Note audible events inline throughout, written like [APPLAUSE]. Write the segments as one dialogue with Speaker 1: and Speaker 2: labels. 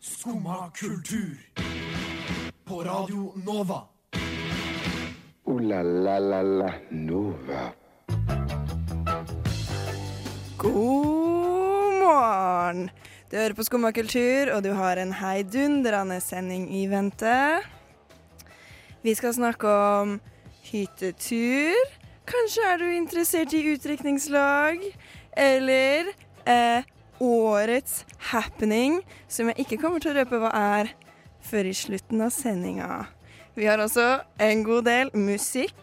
Speaker 1: Skumma kultur. På Radio Nova.
Speaker 2: Ooh la la la la Nova.
Speaker 3: God morgen! Du hører på Skumma kultur, og du har en heidundrende sending i vente. Vi skal snakke om hyttetur. Kanskje er du interessert i utdrikningslag? Eller eh, årets happening, som jeg ikke kommer til å røpe hva er før i slutten av sendinga. Vi har også en god del musikk,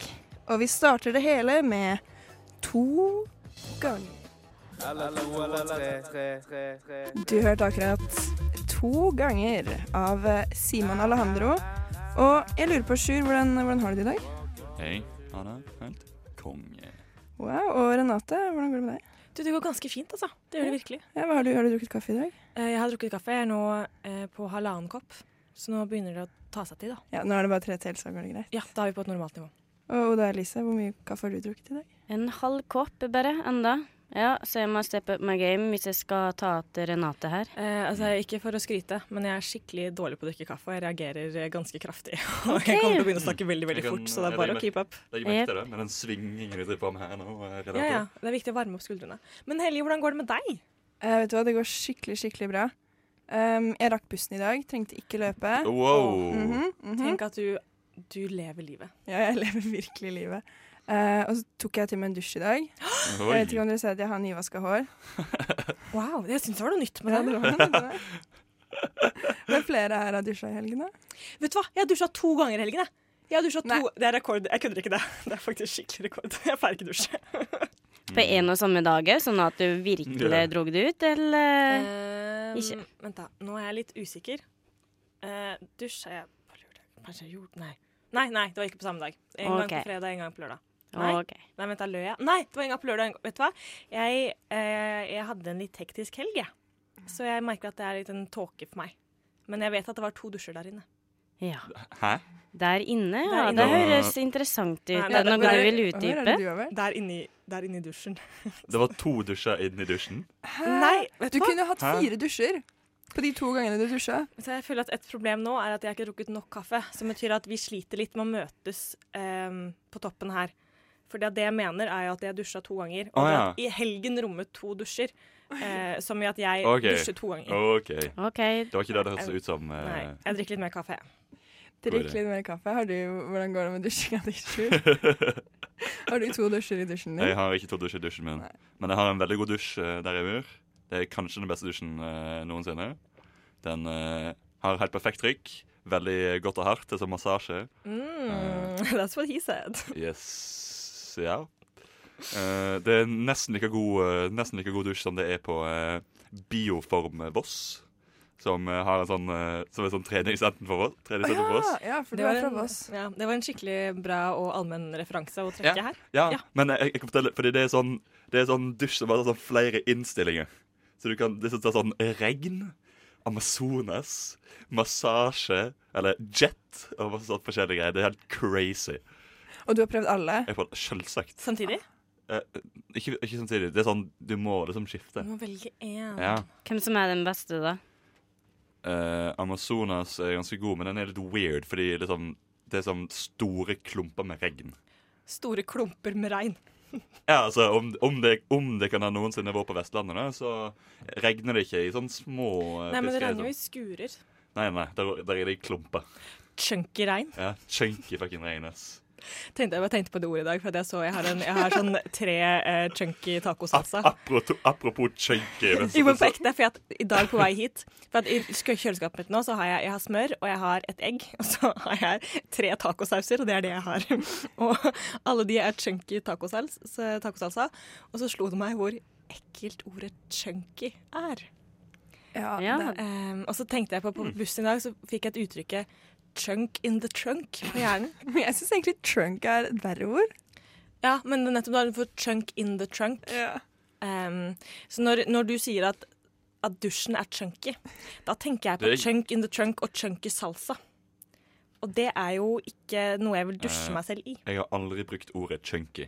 Speaker 3: og vi starter det hele med to ganger. Du hørte akkurat to ganger av Simon Alejandro. Og jeg lurer på, Sjur, hvordan, hvordan har du det i dag?
Speaker 4: Hei, ha det. Helt konge.
Speaker 3: Wow, Og Renate, hvordan går det med deg?
Speaker 5: Du, det går ganske fint, altså. Det gjør det virkelig.
Speaker 3: Ja, hva har, du, har du drukket kaffe i dag?
Speaker 5: Eh, Jeg har drukket kaffe. Jeg er nå eh, på halvannen kopp, så nå begynner det å ta seg til, da.
Speaker 3: Ja, Nå er det bare tre til, så går det greit.
Speaker 5: Ja, da er vi på et normalt nivå.
Speaker 3: Og Oda Elise, hvor mye kaffe har du drukket i dag?
Speaker 6: En halv kopp bare enda. Ja, så jeg må steppe up my game hvis jeg skal ta til Renate her.
Speaker 5: Eh, altså, Ikke for å skryte, men jeg er skikkelig dårlig på å drikke kaffe, og jeg reagerer eh, ganske kraftig. [LAUGHS] Og jeg kommer til å begynne å snakke veldig veldig
Speaker 4: Jeg kan-
Speaker 5: fort, så det
Speaker 4: jeg
Speaker 5: er bare å
Speaker 4: legger
Speaker 5: keep up.
Speaker 4: Jeg merket det med den svingingen du driver på med her nå. eh, Renate.
Speaker 5: Ja, ja. Det er viktig å varme opp skuldrene. Men Helge, hvordan går det med deg?
Speaker 3: Eh, vet du hva, det går skikkelig, skikkelig bra. Um, jeg rakk bussen i dag, trengte ikke løpe.
Speaker 4: Wow.
Speaker 3: Mhm, mhm.
Speaker 5: Tenk at du, du lever livet.
Speaker 3: Ja, jeg [LAUGHS] lever virkelig livet. Eh, og så tok jeg til meg en dusj i dag. Jeg vet ikke
Speaker 4: Oi.
Speaker 3: om dere ser at jeg har nyvaska hår. [LAUGHS]
Speaker 5: Wow, jeg syns det var noe nytt med
Speaker 3: Ja,
Speaker 5: det.
Speaker 3: det var [LAUGHS] det. Men flere her har dusja i helgen, da?
Speaker 5: Vet du hva, jeg har dusja to ganger i helgen, jeg. Jeg har dusjet
Speaker 3: Nei.
Speaker 5: to, Det er rekord. Jeg kødder ikke det. [LAUGHS] Det er faktisk skikkelig rekord. Jeg pleier ikke å dusje.
Speaker 6: På en og samme dag, sånn at du virkelig
Speaker 4: Ja.
Speaker 6: drog det ut, eller?
Speaker 5: Um,
Speaker 6: Ikke.
Speaker 5: Vent, da. Nå er jeg litt usikker. Uh, Dusja jeg på lørdag? Kanskje jeg gjorde Nei. Nei, nei, det var ikke på samme dag. En gang
Speaker 6: Ok.
Speaker 5: på fredag, en gang på lørdag. Nei.
Speaker 6: Ok.
Speaker 5: Nei, vent, da løy jeg. Nei, det var en gang på lørdag. en gang- Vet du hva? Jeg, eh, jeg hadde en litt hektisk helg, jeg. Så jeg merker at det er litt en tåke for meg. Men jeg vet at det var to dusjer der inne.
Speaker 6: Ja.
Speaker 4: Hæ?
Speaker 6: Der inne, ja.
Speaker 5: inne.
Speaker 6: Det høres interessant ut.
Speaker 5: Nei, men-
Speaker 6: Nå
Speaker 5: men-
Speaker 6: kan du
Speaker 3: Hvor er
Speaker 6: vel
Speaker 3: det
Speaker 6: utdype?
Speaker 3: du har vært?
Speaker 5: Der inne, i- der inne i dusjen.
Speaker 4: Det var to dusjer inni dusjen.
Speaker 5: Nei, vet
Speaker 3: Du
Speaker 5: du hva?
Speaker 3: kunne hatt
Speaker 4: Hæ?
Speaker 3: fire dusjer på de to gangene du dusja.
Speaker 5: Så jeg føler at et problem nå er at jeg ikke har drukket nok kaffe, som betyr at vi sliter litt med å møtes ehm, på toppen her. Fordi at det jeg mener er jo at jeg dusja to ganger, og
Speaker 4: Å, ja.
Speaker 5: at i helgen rommet to dusjer. eh, som i at jeg
Speaker 4: Ok. Oh.
Speaker 5: dusjer to ganger.
Speaker 4: OK. Det
Speaker 6: Ok.
Speaker 4: var ikke det det hørtes ut som. eh,
Speaker 5: Nei, jeg [LAUGHS] drikker litt mer kaffe.
Speaker 3: Drikk litt mer kaffe. Har du, hvordan går det med dusjinga di,
Speaker 4: [LAUGHS]
Speaker 3: Sjur? Har du to dusjer i dusjen
Speaker 4: Jeg
Speaker 3: din?
Speaker 4: har ikke to dusjer i dusjen min.
Speaker 3: Hm? Nei.
Speaker 4: Men jeg har en veldig god dusj eh, der jeg bor. Det er kanskje den beste dusjen eh, noensinne. Den eh, har helt perfekt trykk. Veldig godt og hardt. Det er som massasje.
Speaker 5: Mm, that's what he said.
Speaker 4: Yes, ja. Eh, det er nesten like, god, eh, nesten like god dusj som det er på eh, Bioform eh, Voss. Som eh, har en sånn, eh, som er sånn treningssenter for Voss.
Speaker 3: Å
Speaker 4: treningssenter for
Speaker 3: ja,
Speaker 4: Voss.
Speaker 3: Ah, ja, for du er fra
Speaker 5: en,
Speaker 3: Voss.
Speaker 5: ja, det var en skikkelig bra og allmenn referanse å trekke
Speaker 4: Ja.
Speaker 5: her.
Speaker 4: Ja,
Speaker 5: Ja.
Speaker 4: men jeg, jeg kan fortelle, fordi det er sånn, det er sånn dusj som har sånn flere innstillinger. Så du kan, det er sånn regn, Amazonas, massasje, eller jet, og masse sånn forskjellige greier. Det er helt crazy.
Speaker 3: Og du har prøvd alle?
Speaker 4: Jeg får selvsagt.
Speaker 5: Samtidig.
Speaker 4: Ikke, ikke samtidig, det er sånn, du må liksom skifte.
Speaker 5: Du
Speaker 3: Mm.
Speaker 5: må velge én.
Speaker 4: Ja.
Speaker 6: Hvem som er den beste, da?
Speaker 4: Eh, Amazonas er ganske god, men den er litt weird, fordi liksom, det er sånn store klumper med regn.
Speaker 5: Store klumper med regn.
Speaker 4: Ja, altså, om, om, det, om det kan ha noensinne vært på Vestlandet, da, så regner det ikke i sånne små eh,
Speaker 5: Nei, men det
Speaker 4: pisker,
Speaker 5: regner jo
Speaker 4: liksom.
Speaker 5: i skurer.
Speaker 4: Nei, nei, der, der er det i klumper.
Speaker 5: Chunky regn.
Speaker 4: Ja, chunky fucking regn, ass.
Speaker 5: Tenkte, jeg bare tenkte på det ordet i dag, for at jeg så jeg har, en, jeg har sånn tre eh, chunky tacosalsa.
Speaker 4: Apropos, apropos chunky. men så-
Speaker 5: [LAUGHS] Jo, men på ekte, for at i dag på vei hit For at i skø- kjøleskapet mitt nå så har jeg, jeg har smør, og jeg har et egg, [LAUGHS] og så har jeg tre tacosauser, og det er det jeg har. [LAUGHS] Og alle de er chunky tacosals, så- tacosalsa. Og så slo det meg hvor ekkelt ordet chunky er.
Speaker 3: Ja,
Speaker 6: Ja.
Speaker 3: det-
Speaker 5: Ehm, og så tenkte jeg på på bussen i dag, så fikk jeg et uttrykket chunk in the trunk på hjernen.
Speaker 3: Men jeg syns egentlig trunk er et verre ord.
Speaker 5: Ja, men nettopp da har du fått chunk in the trunk. Um, så når, når du sier at, at dusjen er chunky, da tenker jeg på
Speaker 4: Det er-
Speaker 5: chunk in the trunk og chunky salsa. Og det er jo ikke noe jeg vil dusje
Speaker 4: Eh.
Speaker 5: meg selv i.
Speaker 4: Jeg har aldri brukt ordet chunky.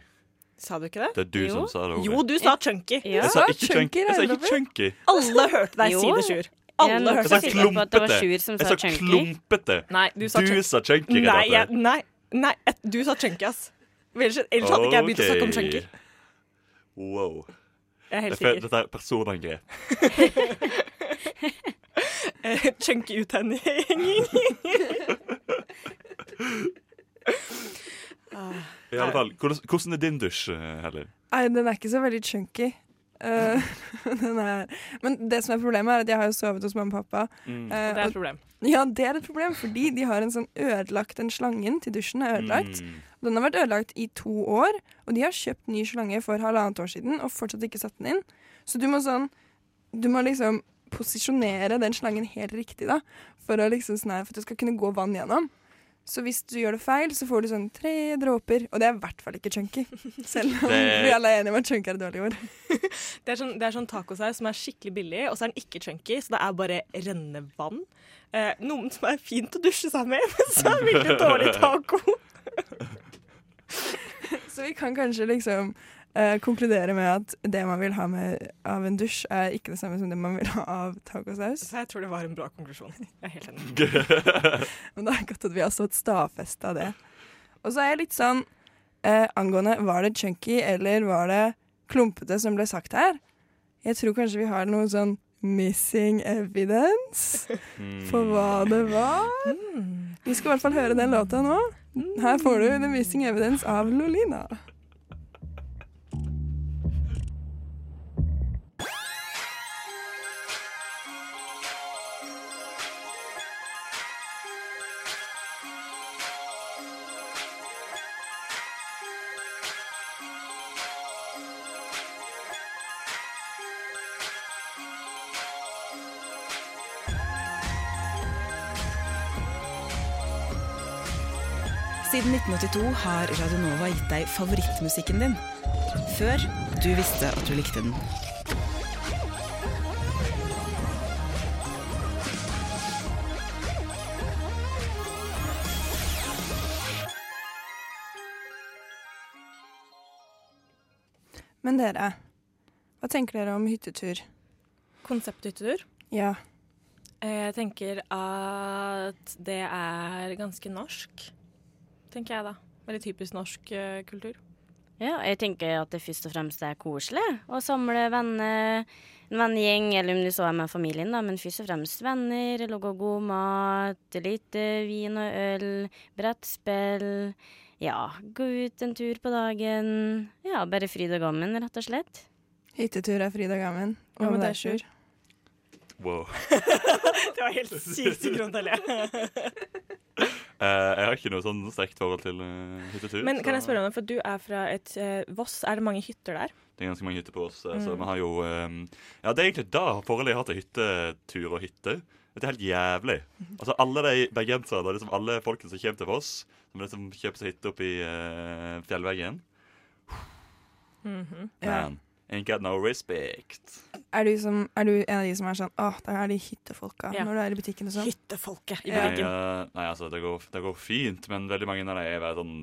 Speaker 5: Sa du ikke det?
Speaker 4: Det er du
Speaker 6: Jo.
Speaker 4: som sa det ordet.
Speaker 5: Jo, du sa chunky.
Speaker 6: Ja.
Speaker 4: Jeg sa ikke
Speaker 3: Chunky
Speaker 4: chunky. Jeg sa
Speaker 3: regner
Speaker 4: ikke chunky.
Speaker 5: Alle hørte deg si
Speaker 6: Jo.
Speaker 5: det, Sjur. Alle
Speaker 6: Jeg er
Speaker 4: Jeg
Speaker 5: hørte
Speaker 4: sa
Speaker 6: nokså
Speaker 5: det.
Speaker 6: sikker på at det var
Speaker 4: klumpete.
Speaker 6: Sjur som
Speaker 4: Jeg
Speaker 6: sa
Speaker 4: sa
Speaker 6: chunky.
Speaker 4: klumpete.
Speaker 5: Nei, du sa
Speaker 4: Du
Speaker 5: chunky.
Speaker 4: sa chunky.
Speaker 5: Nei,
Speaker 4: Renate.
Speaker 5: jeg, nei, nei, et- du sa chunky, ass. Ellers, ellers hadde ikke jeg begynt å snakke om
Speaker 4: Ok.
Speaker 5: chunky.
Speaker 4: Wow.
Speaker 5: Jeg er helt
Speaker 4: Dette,
Speaker 5: sikker. [LAUGHS]
Speaker 4: dette er personangrep.
Speaker 5: Eh, Chunky-uthenging.
Speaker 4: I alle fall, hvordan, hvordan er din dusj, eh, Helle?
Speaker 3: Nei, den er ikke så veldig chunky. Eh, [LAUGHS] den er. Men det som er problemet, er at jeg har jo sovet hos mamma og pappa. Eh,
Speaker 4: Mm.
Speaker 5: Det er et
Speaker 3: og,
Speaker 5: problem.
Speaker 3: ja, det er et problem, fordi de har en sånn ødelagt Den slangen til dusjen er ødelagt.
Speaker 4: Mm.
Speaker 3: Den har vært ødelagt i to år, og de har kjøpt ny slange for halvannet år siden og fortsatt ikke satt den inn. Så du må sånn Du må liksom posisjonere den slangen helt riktig, da, for, å liksom sånn her, for at det skal kunne gå vann gjennom. Så hvis du gjør det feil, så får du sånn tre dråper, og det er i hvert fall ikke chunky. Selv om
Speaker 4: Det-
Speaker 3: vi alle er enige om at chunky er et dårlig ord.
Speaker 5: Det er sånn, det er sånn tacosaus som er skikkelig billig, og så er den ikke chunky, så det er bare rennende vann. Eh, noen som er fint å dusje sammen med, [LAUGHS] men så er det veldig dårlig taco.
Speaker 3: Så vi kan kanskje liksom eh, konkludere med at det man vil ha med av en dusj, er ikke det samme som det man vil ha av tacosaus.
Speaker 5: Så jeg tror det var en bra konklusjon. Jeg er helt enig.
Speaker 3: Men det er godt at vi har stått stadfesta det. Og så er jeg litt sånn eh, angående var det chunky eller var det klumpete som ble sagt her. Jeg tror kanskje vi har noe sånn missing evidence for hva det var. Vi skal i hvert fall høre den låta nå. Her får du The Missing Evidence av Lolina.
Speaker 7: Siden 1982 har Radionova gitt deg favorittmusikken din. Før du visste at du likte den.
Speaker 3: Men dere, hva tenker dere om hyttetur?
Speaker 5: Konsepthyttetur.
Speaker 3: Ja.
Speaker 5: Eh, Jeg tenker at det er ganske norsk, tenker jeg da. Veldig typisk norsk eh, kultur.
Speaker 6: Ja, jeg tenker at det først og fremst er koselig å samle venner, en vennegjeng, eller om du så er med familien, da, men først og fremst venner, lage god mat, litt eh, vin og øl, brettspill, ja, gå ut en tur på dagen, ja, bare fryd og gammen, rett og slett.
Speaker 3: Hyttetur er fryd og gammen.
Speaker 5: Ja,
Speaker 3: Hva
Speaker 5: men
Speaker 3: med
Speaker 5: det er
Speaker 3: deg, Sjur?
Speaker 4: Wow.
Speaker 5: [LAUGHS] Det var helt sykt i grunn til å le.
Speaker 4: Eh, jeg har ikke noe sånn sterkt forhold til eh, hyttetur.
Speaker 5: Men kan jeg
Speaker 4: så
Speaker 5: spørre om det, for du er fra et eh, Voss. Er det mange hytter der?
Speaker 4: Det er ganske mange hytter på oss, eh,
Speaker 5: Mm.
Speaker 4: så vi har jo eh, Ja, det er egentlig da forholdet jeg har til hyttetur og hytter. Det er helt jævlig.
Speaker 5: Mhm.
Speaker 4: Altså, alle de bergenserne og liksom alle folkene som kommer til Voss, som liksom kjøper seg hytte oppi uh, fjellveggen
Speaker 5: Mhm.
Speaker 4: Man, ain't got no respect.
Speaker 3: Er du, som, er du en av de som er sånn Åh, det er de hyttefolka
Speaker 5: Ja.
Speaker 3: når du er i butikken og sånn?
Speaker 5: Hyttefolket i
Speaker 3: Ja.
Speaker 4: Nei,
Speaker 5: Bergen.
Speaker 4: eh, nei, altså, det går, det går fint, men veldig mange av dem er bare sånn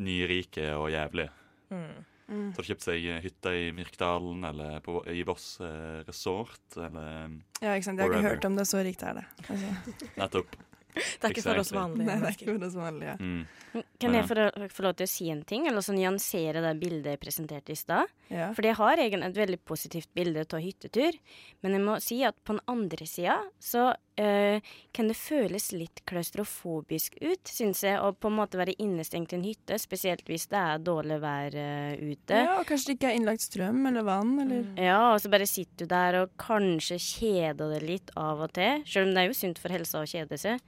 Speaker 4: nyrike og jævlige.
Speaker 5: Mm.
Speaker 4: Så har de kjøpt seg eh, hytte i Myrkdalen eller på, i Voss eh, resort eller eh,
Speaker 3: Ja, ikke sant? Jeg har ikke
Speaker 4: Whatever.
Speaker 3: hørt om det, så rikt er det. Altså,
Speaker 4: nettopp.
Speaker 5: Det er ikke for oss
Speaker 4: Exactly.
Speaker 5: vanlige
Speaker 3: nei, [LAUGHS] det er
Speaker 5: mennesker.
Speaker 3: ikke det som er vanlig. Ja.
Speaker 4: Mm.
Speaker 6: Kan
Speaker 4: Ja.
Speaker 6: jeg få, få lov til å si en ting, eller så nyansere det bildet jeg presenterte i stad?
Speaker 3: Ja.
Speaker 6: For jeg har egentlig et veldig positivt bilde av hyttetur, men jeg må si at på den andre sida så eh, kan det føles litt klaustrofobisk ut, syns jeg, å på en måte være innestengt i en hytte, spesielt hvis det er dårlig vær eh, ute.
Speaker 3: ja, og kanskje det ikke er innlagt strøm eller vann eller
Speaker 6: Ja, og så bare sitter du der og kanskje kjeder deg litt av og til. Selv om det er jo sunt for helsa å kjede seg.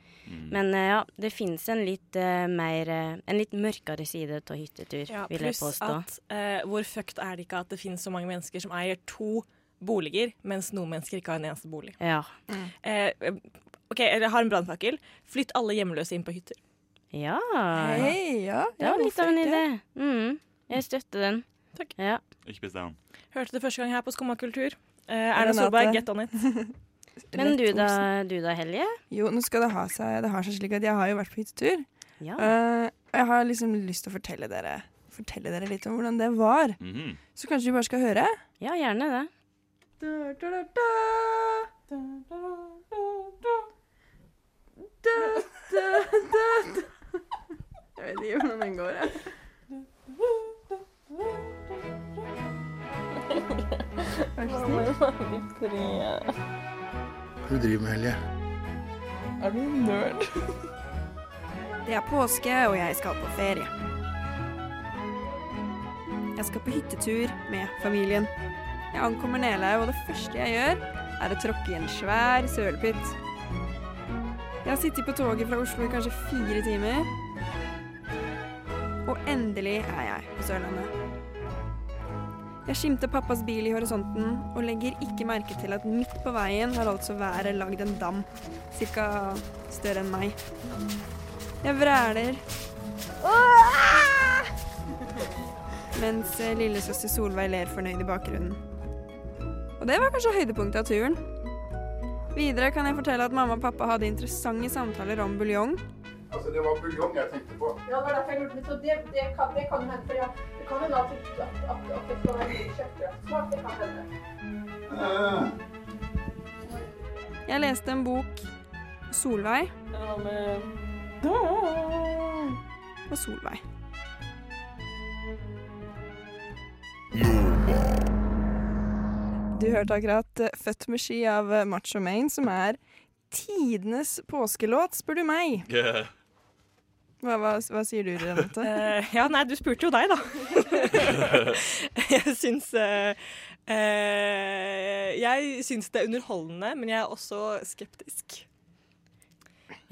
Speaker 6: Men eh, ja, det fins en litt eh, mer eh, En litt mørkere side av hyttetur,
Speaker 5: Ja,
Speaker 6: vil jeg
Speaker 5: pluss
Speaker 6: påstå.
Speaker 5: at eh, hvor fucked er det ikke at det finnes så mange mennesker som eier to boliger, mens noen mennesker ikke har en eneste bolig.
Speaker 6: Ja.
Speaker 5: Eh, OK, jeg har en brannfakkel. Flytt alle hjemløse inn på hytter.
Speaker 6: ja.
Speaker 3: Hei, ja.
Speaker 6: Det
Speaker 3: ja,
Speaker 6: var litt
Speaker 3: hvorfor
Speaker 6: av en
Speaker 3: ikke?
Speaker 6: idé. Mm. Jeg støtter den.
Speaker 5: Takk.
Speaker 6: Ja.
Speaker 4: Ikke piss down.
Speaker 5: Hørte det første gang her på Skumma kultur. Eh, Erna
Speaker 3: Renate.
Speaker 5: Solberg, get on it.
Speaker 6: Men
Speaker 3: Lett
Speaker 6: du da,
Speaker 3: Olsen.
Speaker 6: du da, Helje?
Speaker 3: Jo, nå skal det ha seg, det har seg slik at jeg har jo vært på hyttetur.
Speaker 6: Ja.
Speaker 3: Eh, og jeg har liksom lyst til å fortelle dere, fortelle dere litt om hvordan det var.
Speaker 4: Mhm. [LAUGHS]
Speaker 3: Så kanskje vi bare skal høre?
Speaker 6: ja, gjerne det.
Speaker 3: Da, da, da, da. den går, ja. Vær så snill.
Speaker 8: Hva du driver med, Helge?
Speaker 3: Det er påske, og jeg skal på ferie. Jeg skal på hyttetur med familien. Jeg ankommer Nelaug, og det første jeg gjør, er å tråkke i en svær sølepytt. Jeg har sittet på toget fra Oslo i kanskje fire timer. Og endelig er jeg på Sørlandet. Jeg skimter pappas bil i horisonten og legger ikke merke til at midt på veien har altså været lagd en dam, cirka større enn meg. Jeg vræler. Åh! Mens eh, lillesøster Solveig ler fornøyd i bakgrunnen. Og det var kanskje høydepunktet av turen. Videre kan jeg fortelle at mamma og pappa hadde interessante samtaler om buljong.
Speaker 8: Altså, det var buljong jeg tenkte på.
Speaker 9: Ja, det var derfor jeg lurte litt, så det, det, kan, det kan jo hende, for ja, det kan hende at, at, at, at det skal være litt kjøttkraft. Smart, det kan hende.
Speaker 8: Ah.
Speaker 3: Jeg leste en bok Solveig og Solveig. Du hørte akkurat eh, 'Født med sky' av eh, Macho Maine, som er tidenes påskelåt, spør du meg.
Speaker 4: Yeah.
Speaker 3: Hva, hva, hva sier du, Renate?
Speaker 5: Eh, ja, nei, du spurte jo deg, da. [LAUGHS] jeg syns eh, eh, Jeg syns det er underholdende, men jeg er også skeptisk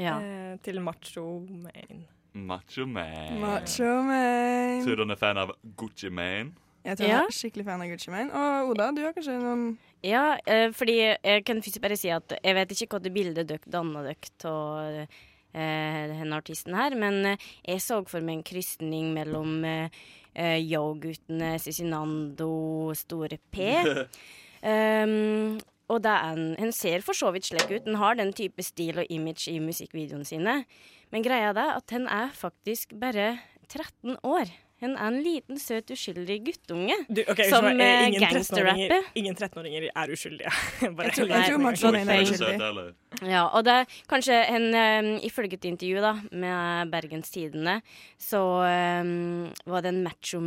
Speaker 6: Ja.
Speaker 5: eh, til macho main.
Speaker 4: Macho man.
Speaker 3: Macho Maine.
Speaker 4: Tror du han er fan av Gucci man?
Speaker 3: Jeg tror
Speaker 6: Ja.
Speaker 3: jeg er skikkelig fan av Gucci Maine. Og Oda, du har kanskje noen
Speaker 6: Ja, eh, fordi jeg kan først bare si at jeg vet ikke hva det bildet dere danna dere av eh, denne artisten her, men eh, jeg så for meg en krysning mellom eh, eh, Yo-guttene, Cezinando, Store P. Um, og det er en, en ser for så vidt slik ut. Den har den type stil og image i musikkvideoene sine. Men greia er at den er faktisk bare 13 år. Den er en liten, søt, uskyldig guttunge.
Speaker 5: Du, ok,
Speaker 6: Som,
Speaker 5: unnskyld meg, eh,
Speaker 6: eh,
Speaker 5: ingen
Speaker 6: gangsterrappe.
Speaker 5: 13-åringer- Ingen 13-åringer er uskyldige. [LAUGHS] Bare-
Speaker 6: Jeg tror-
Speaker 3: Jeg
Speaker 6: Nei,
Speaker 3: tror
Speaker 6: men-
Speaker 3: Macho Maine er
Speaker 4: Ikke
Speaker 3: uskyldig.
Speaker 4: søt heller.
Speaker 6: Ja, og det er kanskje en, eh, ifølge et intervju da, med Bergens Tidende, så eh, var den Macho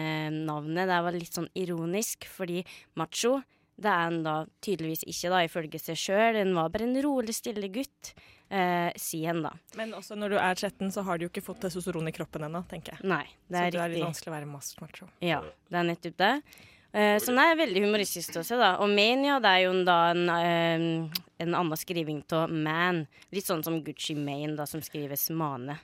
Speaker 6: Main-navnet, det var litt sånn ironisk, fordi macho, det er han da tydeligvis ikke da, ifølge seg selv, den var bare en rolig, stille gutt, eh, sier han da.
Speaker 5: Men også når du er 13, så har du jo ikke fått testosteron i kroppen ennå, tenker jeg.
Speaker 6: Nei, det
Speaker 5: Så
Speaker 6: er
Speaker 5: det er litt
Speaker 6: riktig.
Speaker 5: vanskelig å være macho.
Speaker 6: Ja, det er nettopp det. Eh, så den er veldig humoristisk også, da. Og man, ja, det er jo en- da en, eh, en annen skriving av man. Litt sånn som Gucci Mane, da, som skrives mane.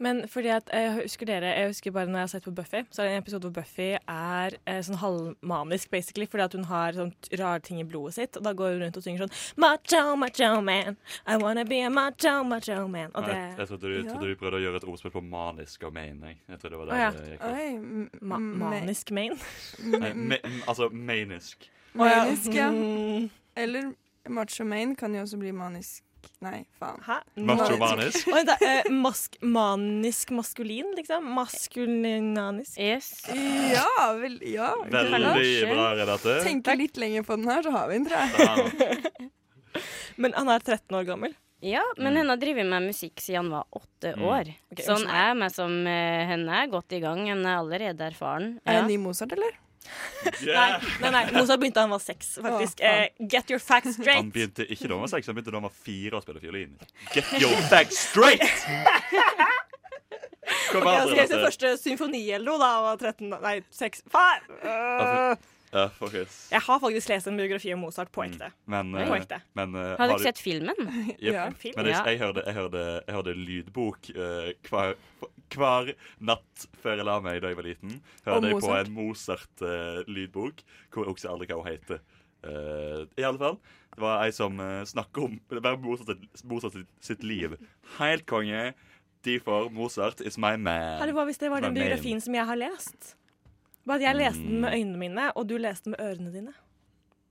Speaker 5: Men fordi at jeg husker dere, jeg husker bare når jeg har sett på Buffy, så er det en episode hvor Buffy er eh, sånn halvmanisk, basically, fordi at hun har sånn rare ting i blodet sitt, og da går hun rundt og synger sånn Macho, macho man, I wanna be a macho, macho man. Og
Speaker 4: Nei, jeg,
Speaker 5: det
Speaker 4: jeg trodde du, trodde du prøvde å gjøre et ordspill på manisk og main. Jeg, jeg trodde det var det
Speaker 5: Å, ja.
Speaker 4: det gikk ut.
Speaker 3: Oi, m-
Speaker 5: ma
Speaker 3: m-
Speaker 5: Manisk main.
Speaker 4: Nei, ma m- altså manisk.
Speaker 3: Manisk, ja.
Speaker 5: Mm,
Speaker 3: [LAUGHS] Eller Macho Maine kan jo også bli manisk. Nei, faen.
Speaker 5: Hæ?
Speaker 4: Macho
Speaker 3: Manisk.
Speaker 4: manisk.
Speaker 5: Oi, det er, eh, mask manisk maskulin, liksom? Maskulinanisk.
Speaker 6: Yes.
Speaker 3: Ja, vel, ja.
Speaker 4: Veldig bra, Renate.
Speaker 3: Tenker litt lenger på den her, så har vi den, tror jeg.
Speaker 4: Ja.
Speaker 5: Men han er 13 år gammel.
Speaker 6: Ja,
Speaker 3: Mm.
Speaker 6: men hun har drevet med musikk siden hun var åtte år.
Speaker 5: Ok,
Speaker 6: så hun
Speaker 5: unnskyld
Speaker 6: er med som eh, Hun er godt i gang. Hun er allerede erfaren.
Speaker 3: Er det
Speaker 6: Ja.
Speaker 3: ny Mozart, eller?
Speaker 5: Nei,
Speaker 4: Yeah.
Speaker 5: nei, nei. Mozart begynte da han var seks,
Speaker 3: Å,
Speaker 5: faktisk.
Speaker 3: faen.
Speaker 5: eh, get your facts
Speaker 4: Han
Speaker 5: straight.
Speaker 4: begynte ikke da han var seks, han begynte da han var fire og spilte fiolin. Get your facts straight! Kom
Speaker 5: Ja,
Speaker 4: her,
Speaker 5: skrev sin første symfoniello da jeg var 13 Nei, 6 Far! Øh,
Speaker 4: Ja, fokus.
Speaker 5: jeg har faktisk lest en biografi om Mozart på ekte.
Speaker 4: Men,
Speaker 5: På ekte.
Speaker 4: eh, men eh,
Speaker 6: Har du ikke sett filmen?
Speaker 4: Jep.
Speaker 3: Ja.
Speaker 5: Film?
Speaker 4: Men jeg,
Speaker 6: Ja.
Speaker 4: jeg, hørte, jeg, hørte, jeg hørte lydbok eh, hver, hver natt før jeg la meg da jeg var liten.
Speaker 3: Om
Speaker 4: Hørte jeg på
Speaker 3: Mozart?
Speaker 4: en Mozart-lydbok, eh, hvor jeg husker aldri hva hun heter. Eh, I alle fall, det var ei som uh, snakka om det var Mozart, Mozart sitt, sitt liv. Helt konge. Derfor Mozart is my man.
Speaker 5: Herre, hva hvis det var den
Speaker 4: Nei, men-
Speaker 5: biografien som jeg har lest? Bare at jeg leste den
Speaker 4: Mm.
Speaker 5: med øynene mine, og du leste den med ørene dine.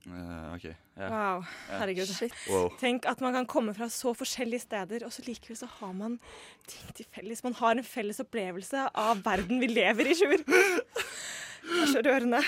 Speaker 4: Eh, ok, ja.
Speaker 5: Wow, herregud.
Speaker 4: Wow.
Speaker 5: Tenk at man kan komme fra så forskjellige steder, og så likevel så har man ting til felles. Man har en felles opplevelse av verden vi lever i, Sjur. Det er så rørende.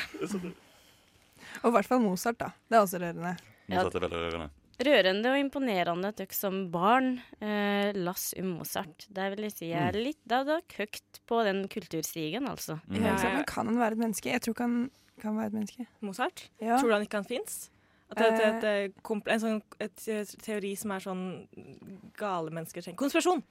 Speaker 3: Og i hvert fall Mozart, da. Det er også rørende.
Speaker 4: Mozart er veldig rørende. [LAUGHS]
Speaker 6: rørende og imponerende at dere som barn eh, las om Mozart. Det vil jeg si er
Speaker 3: Mm.
Speaker 6: litt Da er dere høyt på den kulturstigen,
Speaker 3: [LAUGHS]
Speaker 6: altså.
Speaker 3: Ja,
Speaker 5: Ja,
Speaker 3: så,
Speaker 5: ja.
Speaker 3: men kan han være et menneske? Jeg tror ikke han kan være et menneske.
Speaker 5: Mozart?
Speaker 3: Ja.
Speaker 5: Tror du han ikke han fins? At det er et, et, et, kompl- en sånn et, et teori som er sånn gale mennesker tenker Konspirasjon!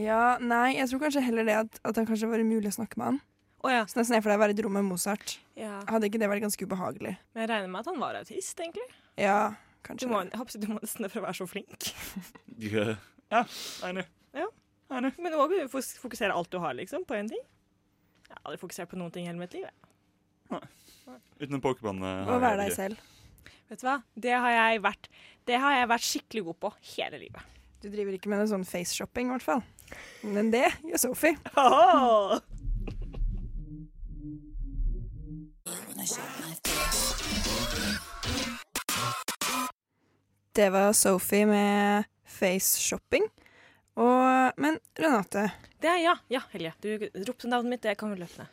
Speaker 3: Ja, nei, jeg tror kanskje heller det at, at han kanskje var umulig å snakke med han.
Speaker 5: Å ja.
Speaker 3: Så nesten jeg for deg å være i et rom med Mozart.
Speaker 5: ja.
Speaker 3: Hadde ikke det vært ganske ubehagelig?
Speaker 5: Men jeg regner med at han var autist, egentlig.
Speaker 3: Ja,
Speaker 5: Du
Speaker 3: kanskje
Speaker 5: må,
Speaker 3: det.
Speaker 5: jeg håper, du må nesten det for å være så flink.
Speaker 4: Ja, ja enig.
Speaker 5: Men du må jo fos- fokusere alt du har, liksom, på én ting. Jeg har aldri fokusert på noen ting i hele mitt liv. jeg.
Speaker 4: Utenom Pokémon.
Speaker 3: Å
Speaker 4: eh, har jeg
Speaker 3: være deg
Speaker 4: ikke.
Speaker 3: selv.
Speaker 5: Vet du hva? Det har jeg vært, det har jeg vært skikkelig god på hele livet.
Speaker 3: Du driver ikke med noe sånn face-shopping, i hvert fall. Men det gjør Sophie. Det var Sophie med face-shopping. Og Men Renate,
Speaker 5: Det er ja. Ja, Helge. Du ropte navnet mitt, det kan vi løpe ned.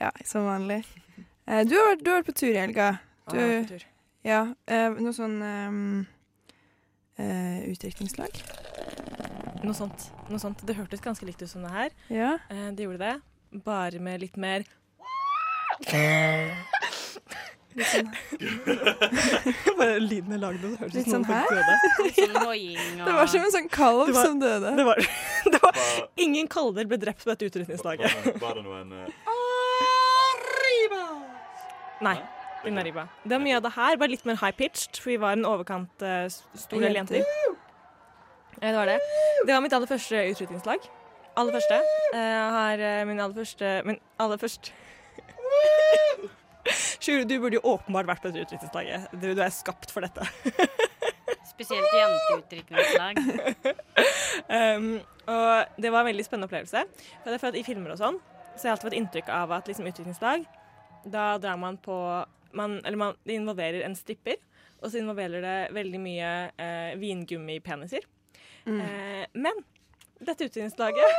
Speaker 3: ja, som vanlig. Eh, Du har, vært- du har vært på tur i helga.
Speaker 5: Å,
Speaker 3: Du-
Speaker 5: jeg er på tur.
Speaker 3: Ja, eh, noe sånn um, eh, utdrikningslag.
Speaker 5: Noe sånt. Noe sånt. Det hørtes ganske likt ut som det her.
Speaker 3: Ja.
Speaker 5: Eh, det gjorde det. Bare med litt mer
Speaker 3: sånn-
Speaker 5: Bare lyden [LAUGHS] jeg lagde, det hørtes
Speaker 3: Litt
Speaker 5: ut som
Speaker 3: sånn
Speaker 5: noen
Speaker 3: her?
Speaker 5: folk døde.
Speaker 6: Sånn hoiing og
Speaker 3: Det var som en sånn kalv
Speaker 5: Det var-
Speaker 3: som døde.
Speaker 5: Det var, [LAUGHS] det var
Speaker 4: Var-
Speaker 5: Ingen kalver ble drept på dette
Speaker 4: var-
Speaker 5: utrydningslaget.
Speaker 4: var- Var det noen eh,
Speaker 5: Nei. Ingen ribba. Det er mye av det her, bare litt mer high-pitched, for vi var en overkant eh, s- stor del
Speaker 3: Jenter.
Speaker 5: jenter. Ja, det var det. Det var mitt aller første utrydningslag. Aller første. Eh, Jeg har eh, min aller første Min aller første [LAUGHS] Sjur, du burde jo åpenbart vært på dette utrydningslaget. Du, du er skapt for dette. [LAUGHS]
Speaker 6: Spesielt jenteutrykningslag.
Speaker 5: Um, og det var en veldig spennende opplevelse. For det er for at I filmer og sånn Så har jeg alltid fått inntrykk av at liksom, utviklingslag Da drar man på man, Eller man, det involverer en stripper, og så involverer det veldig mye eh, vingummi-peniser. Eh, men dette utviklingslaget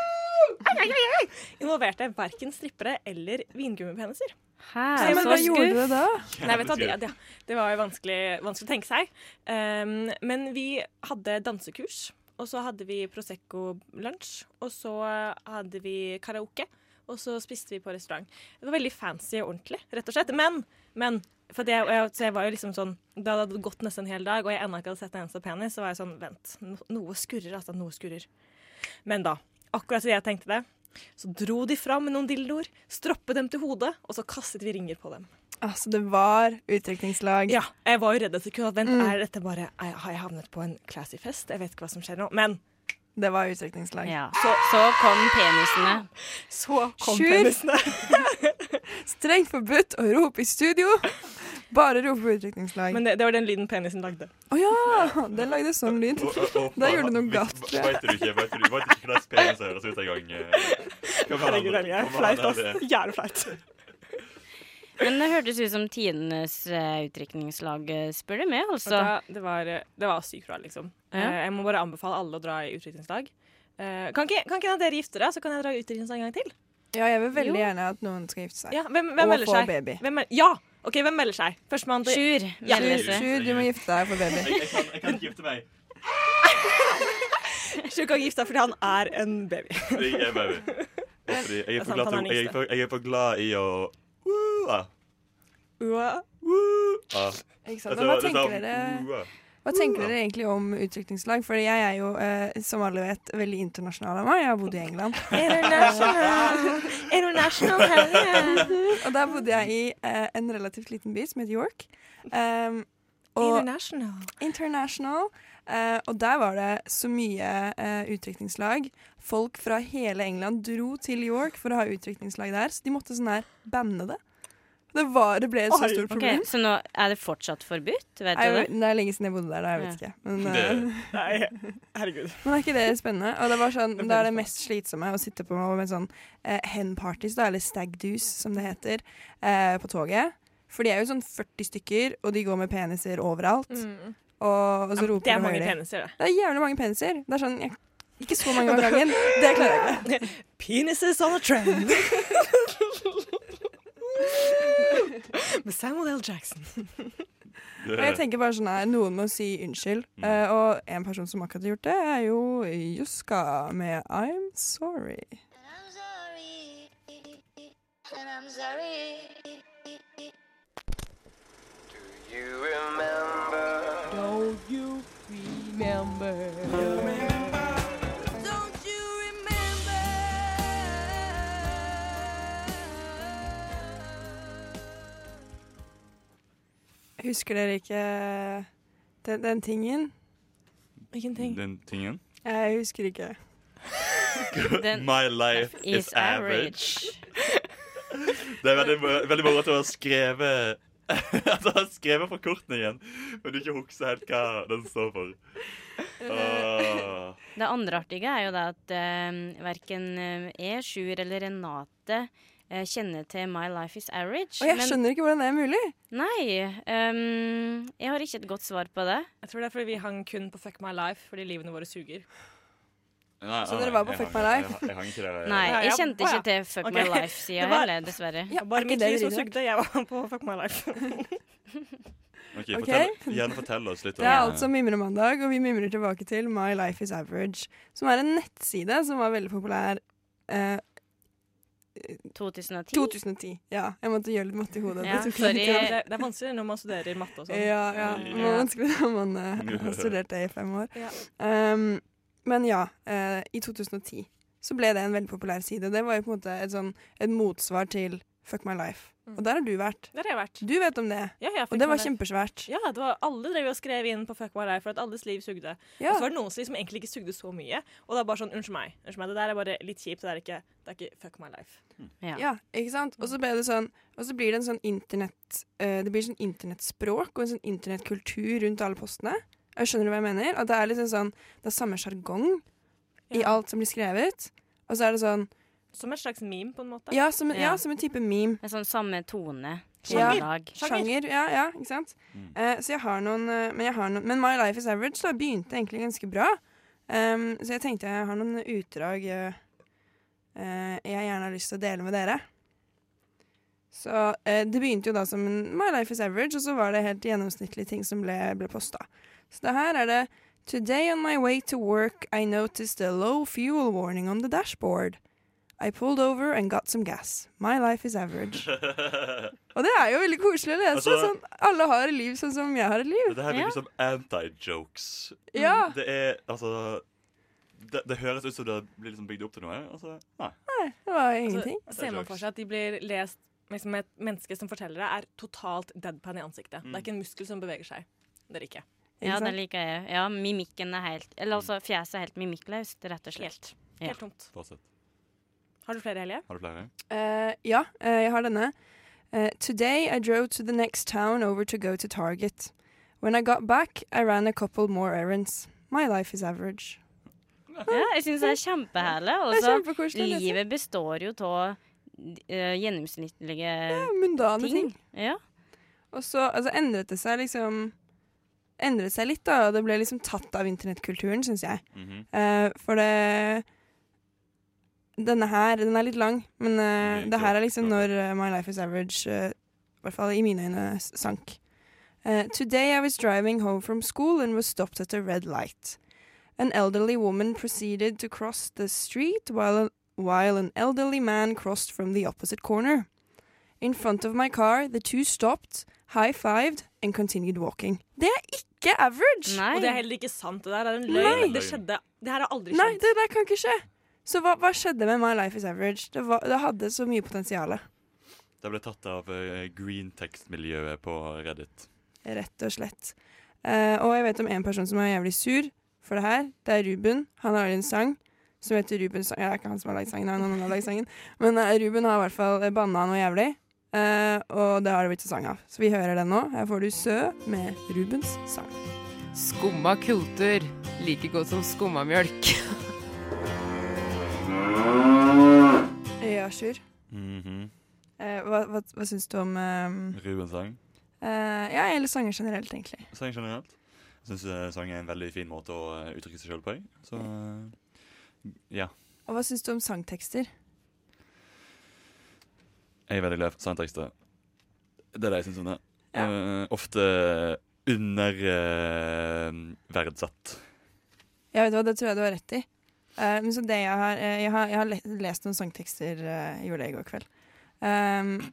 Speaker 5: Ai, ai, ai, ai! involverte verken strippere eller vingummi-peniser.
Speaker 6: Hæ,
Speaker 3: Nei, men
Speaker 6: så
Speaker 3: hva gjorde
Speaker 6: skuff.
Speaker 3: du da?
Speaker 5: Nei, vet du, hva,
Speaker 4: jævlig
Speaker 5: det, det, det var jo vanskelig, vanskelig å tenke seg. Um, men vi hadde dansekurs, og så hadde vi Prosecco-lunsj, og så hadde vi karaoke, og så spiste vi på restaurant. Det var veldig fancy og ordentlig, rett og slett. Men, men for det, og jeg, så jeg var jo liksom sånn, Da det hadde gått nesten en hel dag, og jeg ennå ikke hadde sett en eneste penis, så var jeg sånn Vent, no, noe skurrer, altså. Noe skurrer. Men da, akkurat idet jeg tenkte det, så dro de fram noen dildoer, stroppet dem til hodet, og så kastet vi ringer på dem.
Speaker 3: Altså, det var utdrikningslag.
Speaker 5: Ja, jeg var jo redd et sekund. at, Vent, er dette bare er- Har jeg havnet på en classy fest? Jeg vet ikke hva som skjer nå. Men
Speaker 3: Det var utdrikningslag.
Speaker 6: Ja. Så, så kom penisene.
Speaker 5: så kom
Speaker 3: Sjur!
Speaker 5: [LAUGHS] penisene.
Speaker 3: Strengt forbudt å rope i studio. Bare rope på utdrikningslag. Å
Speaker 5: Men det, det var den lyden penisen lagde.
Speaker 3: ja! Den lagde sånn lyd.
Speaker 4: Og- og- og-
Speaker 3: Da gjorde du noe
Speaker 4: vi-
Speaker 3: galt, tror jeg.
Speaker 4: Vet du ikke vet du, vet du ikke hvordan penis høres ut engang?
Speaker 5: Herregud, Helge. jeg er Flaut, ass. Jævlig flaut.
Speaker 6: Men det hørtes ut som tidenes eh, utdrikningslag, eh, spør du meg, altså.
Speaker 5: Da- Det var, det var sykt bra, liksom.
Speaker 6: Ja.
Speaker 5: Eh, Jeg må bare anbefale alle å dra i utviklingslag. Eh, Kan ikke, kan ikke en av dere gifte dere, så kan jeg dra i utviklingslag en gang til?
Speaker 3: Ja, jeg vil veldig
Speaker 6: Jo.
Speaker 3: gjerne at noen skal gifte seg.
Speaker 5: Ja, hvem, hvem
Speaker 3: Og
Speaker 5: melder
Speaker 3: få
Speaker 5: seg?
Speaker 3: baby.
Speaker 5: Hvem mel ja! OK, hvem melder seg? Førstemann til
Speaker 6: Sjur melder seg.
Speaker 3: Sjur, du må gifte deg for baby.
Speaker 4: Jeg, jeg, kan, jeg kan ikke gifte meg.
Speaker 5: Sjur kan gifte seg fordi han er en baby.
Speaker 4: Jeg er baby. Og Fordi jeg, er for
Speaker 5: sant,
Speaker 4: glad
Speaker 5: han er
Speaker 4: til, jeg, er
Speaker 5: yngste.
Speaker 4: for, jeg er for glad i å Woo, eh, ah,
Speaker 5: Ua.
Speaker 4: woo, ah.
Speaker 3: Ikke sant?
Speaker 4: Dette
Speaker 3: Men hva
Speaker 4: var- dette var-
Speaker 3: tenker dere
Speaker 4: woo, ah.
Speaker 3: Hva
Speaker 6: Mm.
Speaker 3: tenker dere egentlig om utdrikningslag? For jeg er jo, eh, som alle vet, veldig internasjonal av meg. Jeg har bodd i
Speaker 6: [LAUGHS]
Speaker 3: England.
Speaker 5: International. International Helge.
Speaker 3: Og der bodde jeg i eh, en relativt liten by som heter York. Um, og
Speaker 5: International.
Speaker 3: International. Eh, og der var det så mye eh, utdrikningslag. Folk fra hele England dro til York for å ha utdrikningslag der, så de måtte sånn her banne det. Det, var, det ble et så
Speaker 5: Oi,
Speaker 3: stort
Speaker 6: Ok,
Speaker 3: problem.
Speaker 6: Så nå er det fortsatt forbudt,
Speaker 3: Jeg,
Speaker 6: vet du det?
Speaker 3: det er lenge siden jeg bodde der, da. Jeg vet ikke. Men,
Speaker 4: Det,
Speaker 3: eh,
Speaker 5: Nei, herregud.
Speaker 3: men er ikke det spennende? Og det var sånn,
Speaker 5: Det er
Speaker 3: Da er
Speaker 5: veldig
Speaker 3: det mest slitsomme å sitte på med sånn eh, hen-parties, da, eller stag-doos, som det heter, eh, på toget. For de er jo sånn 40 stykker, og de går med peniser overalt. Og, og så roper
Speaker 5: Mm. Det er
Speaker 3: de
Speaker 5: mange
Speaker 3: høyere.
Speaker 5: peniser, det.
Speaker 3: Det er jævlig mange peniser. Det er sånn, jeg, Ikke så
Speaker 5: [LAUGHS]
Speaker 3: mange om gangen. Det klarer jeg ikke.
Speaker 5: Penises on a trend. Med Samuel L. Jackson.
Speaker 3: Og jeg tenker bare sånn her, noen må si unnskyld. Eh, og en person som akkurat har gjort det, er jo Juska med I'm sorry. Husker dere ikke den, den tingen?
Speaker 5: Hvilken ting?
Speaker 4: Den tingen.
Speaker 3: Jeg husker ikke.
Speaker 6: Den
Speaker 4: My life is
Speaker 6: is
Speaker 4: average.
Speaker 6: average.
Speaker 4: Det er veldig, mo- veldig moro at du har [LAUGHS] skrevet At du har skrevet forkortningen, men du ikke husker helt hva den står for. Åh.
Speaker 6: Det andre artige er jo det at uh, verken jeg, E, Sjur eller Renate eh, kjenner til My life is average.
Speaker 3: Og jeg
Speaker 6: men-
Speaker 3: skjønner ikke hvordan det er mulig.
Speaker 6: Nei. ehm, jeg har ikke et godt svar på det.
Speaker 5: Jeg tror det er fordi vi hang kun på Fuck my life fordi livene våre suger.
Speaker 4: Nei,
Speaker 3: Så
Speaker 4: nei,
Speaker 3: dere var på
Speaker 4: jeg
Speaker 3: Fuck
Speaker 4: hang-
Speaker 3: My
Speaker 4: jeg-
Speaker 3: Life?
Speaker 4: Jeg, jeg hang ikke der. jeg-
Speaker 6: Nei,
Speaker 5: Ja,
Speaker 6: jeg
Speaker 5: ja,
Speaker 6: kjente
Speaker 5: ja.
Speaker 6: ikke til Fuck
Speaker 5: Ok.
Speaker 6: my life-sida
Speaker 5: Det var-
Speaker 6: heller, dessverre.
Speaker 3: Ja,
Speaker 5: Bare
Speaker 3: er
Speaker 5: mitt
Speaker 3: ikke det
Speaker 5: liv som
Speaker 3: dritrart?
Speaker 5: sugde. Jeg var på Fuck my life.
Speaker 4: Ok,
Speaker 3: Ok.
Speaker 4: Fortell, gjerne fortell oss litt om
Speaker 3: Det er altså Mimremandag, og vi mimrer tilbake til My Life Is Average, som er en nettside som var veldig populær eh,
Speaker 6: 2010.
Speaker 3: 2010. Ja, jeg måtte gjøre litt matte i hodet.
Speaker 6: Ja,
Speaker 3: det
Speaker 5: [LAUGHS]
Speaker 3: tok
Speaker 6: sorry.
Speaker 3: litt tid.
Speaker 5: Ja, men det, det er vanskelig når man studerer matte og sånn.
Speaker 3: Ja, ja. Det var vanskelig når man [LAUGHS] eh, har studert det i fem år. Um, men ja, eh, i 2010 så ble det en veldig populær side. Det var jo på en måte et, sånn, et motsvar til Fuck My Life.
Speaker 5: Mm.
Speaker 3: Og der har du vært.
Speaker 5: Der har jeg vært.
Speaker 3: Du vet om det,
Speaker 5: Ja, jeg
Speaker 3: og
Speaker 5: fikk
Speaker 3: det
Speaker 5: med
Speaker 3: var kjempesvært.
Speaker 5: Ja, det var alle drev og skrev inn på Fuck my life for at alles liv sugde.
Speaker 3: Ja.
Speaker 5: Og så var det noen som liksom egentlig ikke sugde så mye. Og det er bare sånn, unnskyld meg, unnskyld meg, det der er bare litt kjipt. Det er ikke, det er ikke Fuck my life.
Speaker 6: Ja. Mm.
Speaker 3: Ja, ikke sant? Og så ble det sånn Og så blir det en sånn internett eh, Det blir sånn internettspråk og en sånn internettkultur rundt alle postene. Jeg skjønner du hva jeg mener? At det er liksom sånn Det er samme sjargong i
Speaker 5: Ja.
Speaker 3: alt som blir skrevet. Og så er det sånn
Speaker 5: Som et slags meme, på en måte.
Speaker 3: Ja, som en, ja,
Speaker 6: Ja.
Speaker 3: som en type meme.
Speaker 6: Med sånn samme tone.
Speaker 3: Ja.
Speaker 6: Samme dag.
Speaker 3: Sjanger. ja, ja, ikke sant? Eh, så jeg har noen, eh, men jeg har noen Men My Life Is Average da begynte egentlig ganske bra. Ehm, så jeg tenkte jeg har noen utdrag eh, eh, jeg gjerne har lyst til å dele med dere. Så eh, det begynte jo da som en My Life Is Average, og så var det helt gjennomsnittlige ting som ble, ble posta. Så det her er det Today on my way to work I noticed a low fuel warning on the dashboard. I pulled over and got some gas. My life is average. Og det er jo veldig koselig å lese.
Speaker 4: Altså-
Speaker 3: sånn, alle har et liv sånn som jeg har et liv.
Speaker 4: [LAUGHS] Det her
Speaker 6: Ja.
Speaker 4: virker som anti-jokes.
Speaker 3: Ja.
Speaker 4: Det er altså det, det høres ut som det blir liksom bygd opp til noe. Altså, nei.
Speaker 3: Det var
Speaker 6: Altså,
Speaker 3: ingenting.
Speaker 5: Så Altså, ser man for seg at de blir lest liksom et menneske som forteller det, er totalt deadpan i ansiktet.
Speaker 4: Mm.
Speaker 5: Det er ikke en muskel som beveger seg. Det er det ikke.
Speaker 6: Ja,
Speaker 3: Ikke
Speaker 6: det
Speaker 3: sant?
Speaker 6: liker jeg. Ja, mimikken er helt Eller altså, fjeset er helt mimikklaust, rett og slett.
Speaker 5: Helt.
Speaker 6: Ja.
Speaker 5: Helt tomt.
Speaker 4: Fortsett.
Speaker 5: Har du flere, Helje?
Speaker 4: Har du flere?
Speaker 3: Eh, ja, eh, jeg har denne. Eh, Today I drove to the next town over to go to Target. When I got back, I ran a couple more errands. My life is average.
Speaker 6: Ja, jeg syns det er kjempeherlig.
Speaker 3: Det er
Speaker 6: Altså,
Speaker 3: kjempekoselig å lese.
Speaker 6: livet består jo av eh, gjennomsnittlige
Speaker 3: Mundane ting.
Speaker 6: ting. Ja.
Speaker 3: Og så altså, endret det seg liksom Endret seg litt, da. Og det ble liksom tatt av internettkulturen, syns jeg.
Speaker 4: Mhm.
Speaker 3: Eh, for det Denne her, den er litt lang, men eh,
Speaker 4: Ok,
Speaker 3: det her
Speaker 4: klart,
Speaker 3: er liksom
Speaker 4: klart.
Speaker 3: når eh, My Life Is Average, eh, i hvert fall i mine øyne, s- sank. Eh, Today I was driving home from school and was stopped at a red light. An elderly woman proceeded to cross the street while, while an elderly man crossed from the opposite corner. In front of my car, the two stopped, high-fived and continued walking. Det er ikke average!
Speaker 6: Nei.
Speaker 5: Og det er heller ikke sant. Det der er en løgn.
Speaker 4: Nei.
Speaker 5: Det skjedde. Det her har aldri
Speaker 3: Nei,
Speaker 5: skjedd.
Speaker 3: det der kan ikke skje. Så hva, hva skjedde med My Life Is Average? Det, var, det hadde så mye potensial.
Speaker 4: Det ble tatt av eh, green text-miljøet på Reddit.
Speaker 3: Rett og slett. Eh, og jeg vet om en person som er jævlig sur for det her. Det er Ruben. Han har en sang som heter Ruben sang. Ja, det er ikke han som har lagd sangen, det er noen annen som har lagd sangen. Men eh, Ruben har i hvert fall banna noe jævlig. Eh, og det har det blitt en sang av. Så vi hører den nå. Her får du Sø med Rubens sang.
Speaker 10: Skumma kultur. Like godt som skummamjølk.
Speaker 3: Ja, Sjur. Eh, hva hva, hva syns du om eh,
Speaker 4: Ruben-sang.
Speaker 3: eh, Ja, eller sanger generelt, egentlig.
Speaker 4: Sang generelt. Jeg syns sang er en veldig fin måte å eh, uttrykke seg sjøl på. jeg. Så eh, ja.
Speaker 3: Og hva syns du om sangtekster?
Speaker 4: Jeg er veldig glad i sangtekster. Det er det jeg syns om det.
Speaker 3: Ja.
Speaker 4: Eh, ofte eh, underverdsatt.
Speaker 3: Ja, vet du hva, det tror jeg du har rett i. Eh, men så det jeg har, eh, jeg har, jeg har le- lest noen sangtekster eh, gjorde jeg i går kveld. Ehm,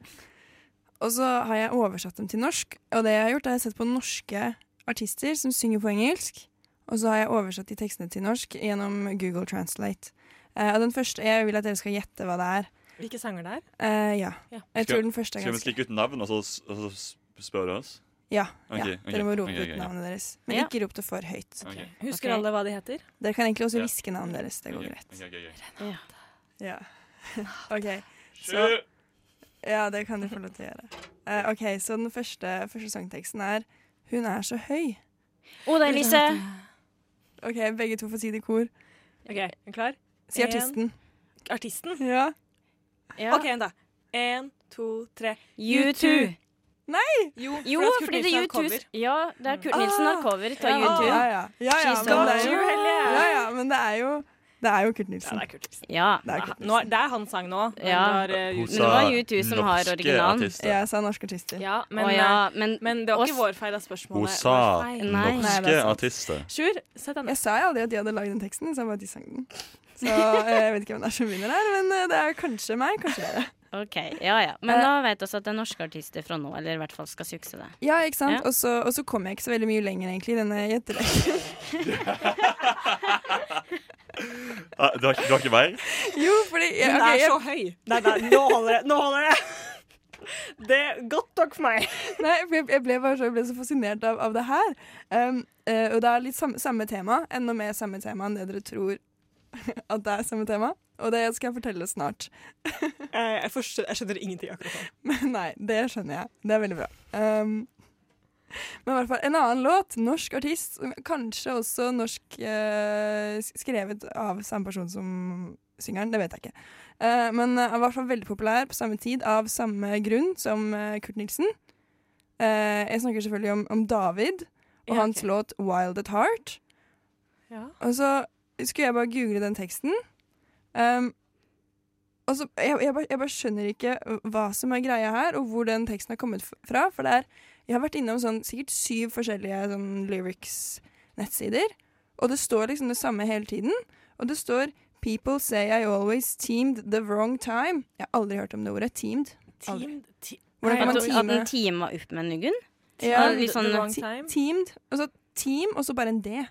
Speaker 3: og så har jeg oversatt dem til norsk. Og det jeg har gjort, er jeg har sett på norske artister som synger på engelsk. Og så har jeg oversatt de tekstene til norsk gjennom Google Translate. Eh, og den første, Jeg vil at dere skal gjette hva det er.
Speaker 5: Hvilke sanger det er?
Speaker 3: Eh, ja.
Speaker 5: Ja.
Speaker 3: Jeg tror den første er
Speaker 4: Skal vi
Speaker 3: ganske
Speaker 4: skrike ut navn, og så, s- og så s- spør du oss?
Speaker 3: Ja.
Speaker 4: Ok,
Speaker 3: ja.
Speaker 4: ok,
Speaker 3: Dere må rope
Speaker 4: ok, ok,
Speaker 3: ut
Speaker 4: ok.
Speaker 3: navnet deres. Men
Speaker 5: Ja.
Speaker 3: ikke rop det for høyt.
Speaker 4: Ok.
Speaker 5: Husker
Speaker 6: Ok.
Speaker 5: alle hva de heter?
Speaker 3: Dere kan egentlig også
Speaker 4: Ja.
Speaker 3: hviske navnet deres. Det går
Speaker 4: Ok,
Speaker 3: greit.
Speaker 4: ok, ok, ok.
Speaker 3: Ja. [LAUGHS] OK. Så
Speaker 4: Sju!
Speaker 3: Ja, det kan du få lov til å gjøre. Eh, OK, så den første, første sangteksten er Hun er så høy.
Speaker 6: Oda Elise.
Speaker 3: OK, begge to får si det i kor.
Speaker 5: Ok, er du klar?
Speaker 3: Si
Speaker 5: En.
Speaker 3: artisten.
Speaker 5: Artisten?
Speaker 3: Ja.
Speaker 6: Ja.
Speaker 5: OK, da. En, to, tre.
Speaker 6: U2.
Speaker 5: Jo,
Speaker 6: Jo,
Speaker 5: at Kurt
Speaker 6: fordi det
Speaker 5: Nilsen
Speaker 6: er
Speaker 5: har
Speaker 6: U2.
Speaker 5: cover.
Speaker 6: Ja, det er Kurt Nilsen har cover til
Speaker 3: Ja,
Speaker 6: U2.
Speaker 3: Ah. ja, ja. ja, ja,
Speaker 6: She's
Speaker 3: men, det er
Speaker 5: got
Speaker 3: jo,
Speaker 5: you, Helene.
Speaker 3: ja, ja men det er jo Det er jo Kurt
Speaker 5: Ja,
Speaker 3: Nilsen.
Speaker 5: det er Kurt Nilsen.
Speaker 6: Ja.
Speaker 3: Det er Kurt
Speaker 5: Nå, er-
Speaker 3: Nilsen.
Speaker 5: det er hans sang nå. men
Speaker 6: Ja.
Speaker 5: det er, eh,
Speaker 4: Hun
Speaker 5: U2.
Speaker 6: det var U2 som har
Speaker 4: norske
Speaker 6: originalen.
Speaker 4: artister.
Speaker 3: Ja, jeg sa norske artister.
Speaker 5: ja, men,
Speaker 6: Å ja, men,
Speaker 5: eh, men det var
Speaker 6: Oss-
Speaker 5: ikke vår feil at spørsmålet
Speaker 4: Hun
Speaker 5: var
Speaker 4: sa
Speaker 5: feil.
Speaker 6: Nei.
Speaker 3: Nei,
Speaker 4: norske
Speaker 3: det er sant.
Speaker 4: artister.
Speaker 5: Sjur, sett deg ned.
Speaker 3: Jeg sa jo aldri at de hadde lagd den teksten, så jeg bare de sang den. Så eh, jeg vet ikke hvem det er som vinner her, men eh, det er kanskje meg, kanskje dere.
Speaker 6: OK. Ja ja. Men
Speaker 3: Eh.
Speaker 6: da vet vi at det er norske artister fra nå, eller i hvert fall skal sukse det.
Speaker 3: Ja, ikke sant?
Speaker 6: Ja.
Speaker 3: Og så- Og så kom jeg ikke så veldig mye lenger, egentlig, i denne gjetteleken.
Speaker 4: Ah, du, har, ikke- du har ikke mer?
Speaker 3: Jo, fordi jeg,
Speaker 5: Hun
Speaker 3: ok,
Speaker 5: er
Speaker 3: jeg,
Speaker 5: så høy. Nei, nei, nå holder det. Nå holder det. [LAUGHS] Det er godt nok for meg.
Speaker 3: [LAUGHS] Nei, for jeg, jeg, ble bare så, jeg ble så fascinert av, av det her. Um, eh, og det er litt samme, samme tema, enda mer samme tema enn det dere tror [LAUGHS] at det er samme tema. Og det skal jeg fortelle snart.
Speaker 5: Eh, Jeg, forstår, jeg skjønner ingenting akkurat nå.
Speaker 3: Men nei, det skjønner jeg. Det er veldig bra. Um, men i hvert fall en annen låt, norsk artist, som kanskje også norsk eh, s- skrevet av samme person som syngeren, det vet jeg ikke. Eh, men eh, i hvert fall veldig populær på samme tid, av samme grunn som eh, Kurt Nilsen. Eh, jeg snakker selvfølgelig om, om David og
Speaker 5: Ja,
Speaker 3: hans
Speaker 5: ok.
Speaker 3: låt 'Wild at Heart'.
Speaker 5: Ja.
Speaker 3: Og så skulle jeg bare google den teksten. Um, og så, jeg, jeg, bare, jeg bare skjønner ikke hva som er greia her, og hvor den teksten har kommet f- fra. For det er, jeg har vært innom sånn, sikkert syv forskjellige sånn, lyrics-nettsider, og det står liksom det samme hele tiden. Og det står 'People say I always teamed the wrong time'. Jeg har aldri hørt om det ordet. Teamed.
Speaker 5: Team, ti-
Speaker 3: Hvordan kan
Speaker 6: At,
Speaker 3: man
Speaker 5: Nei,
Speaker 6: at
Speaker 3: teame?
Speaker 6: den teama opp med Nugunn.
Speaker 3: Ja,
Speaker 6: Teamed. litt sånn-
Speaker 5: The Wrong
Speaker 3: te-
Speaker 5: Time.
Speaker 3: teamed. Og så team, og så bare en D.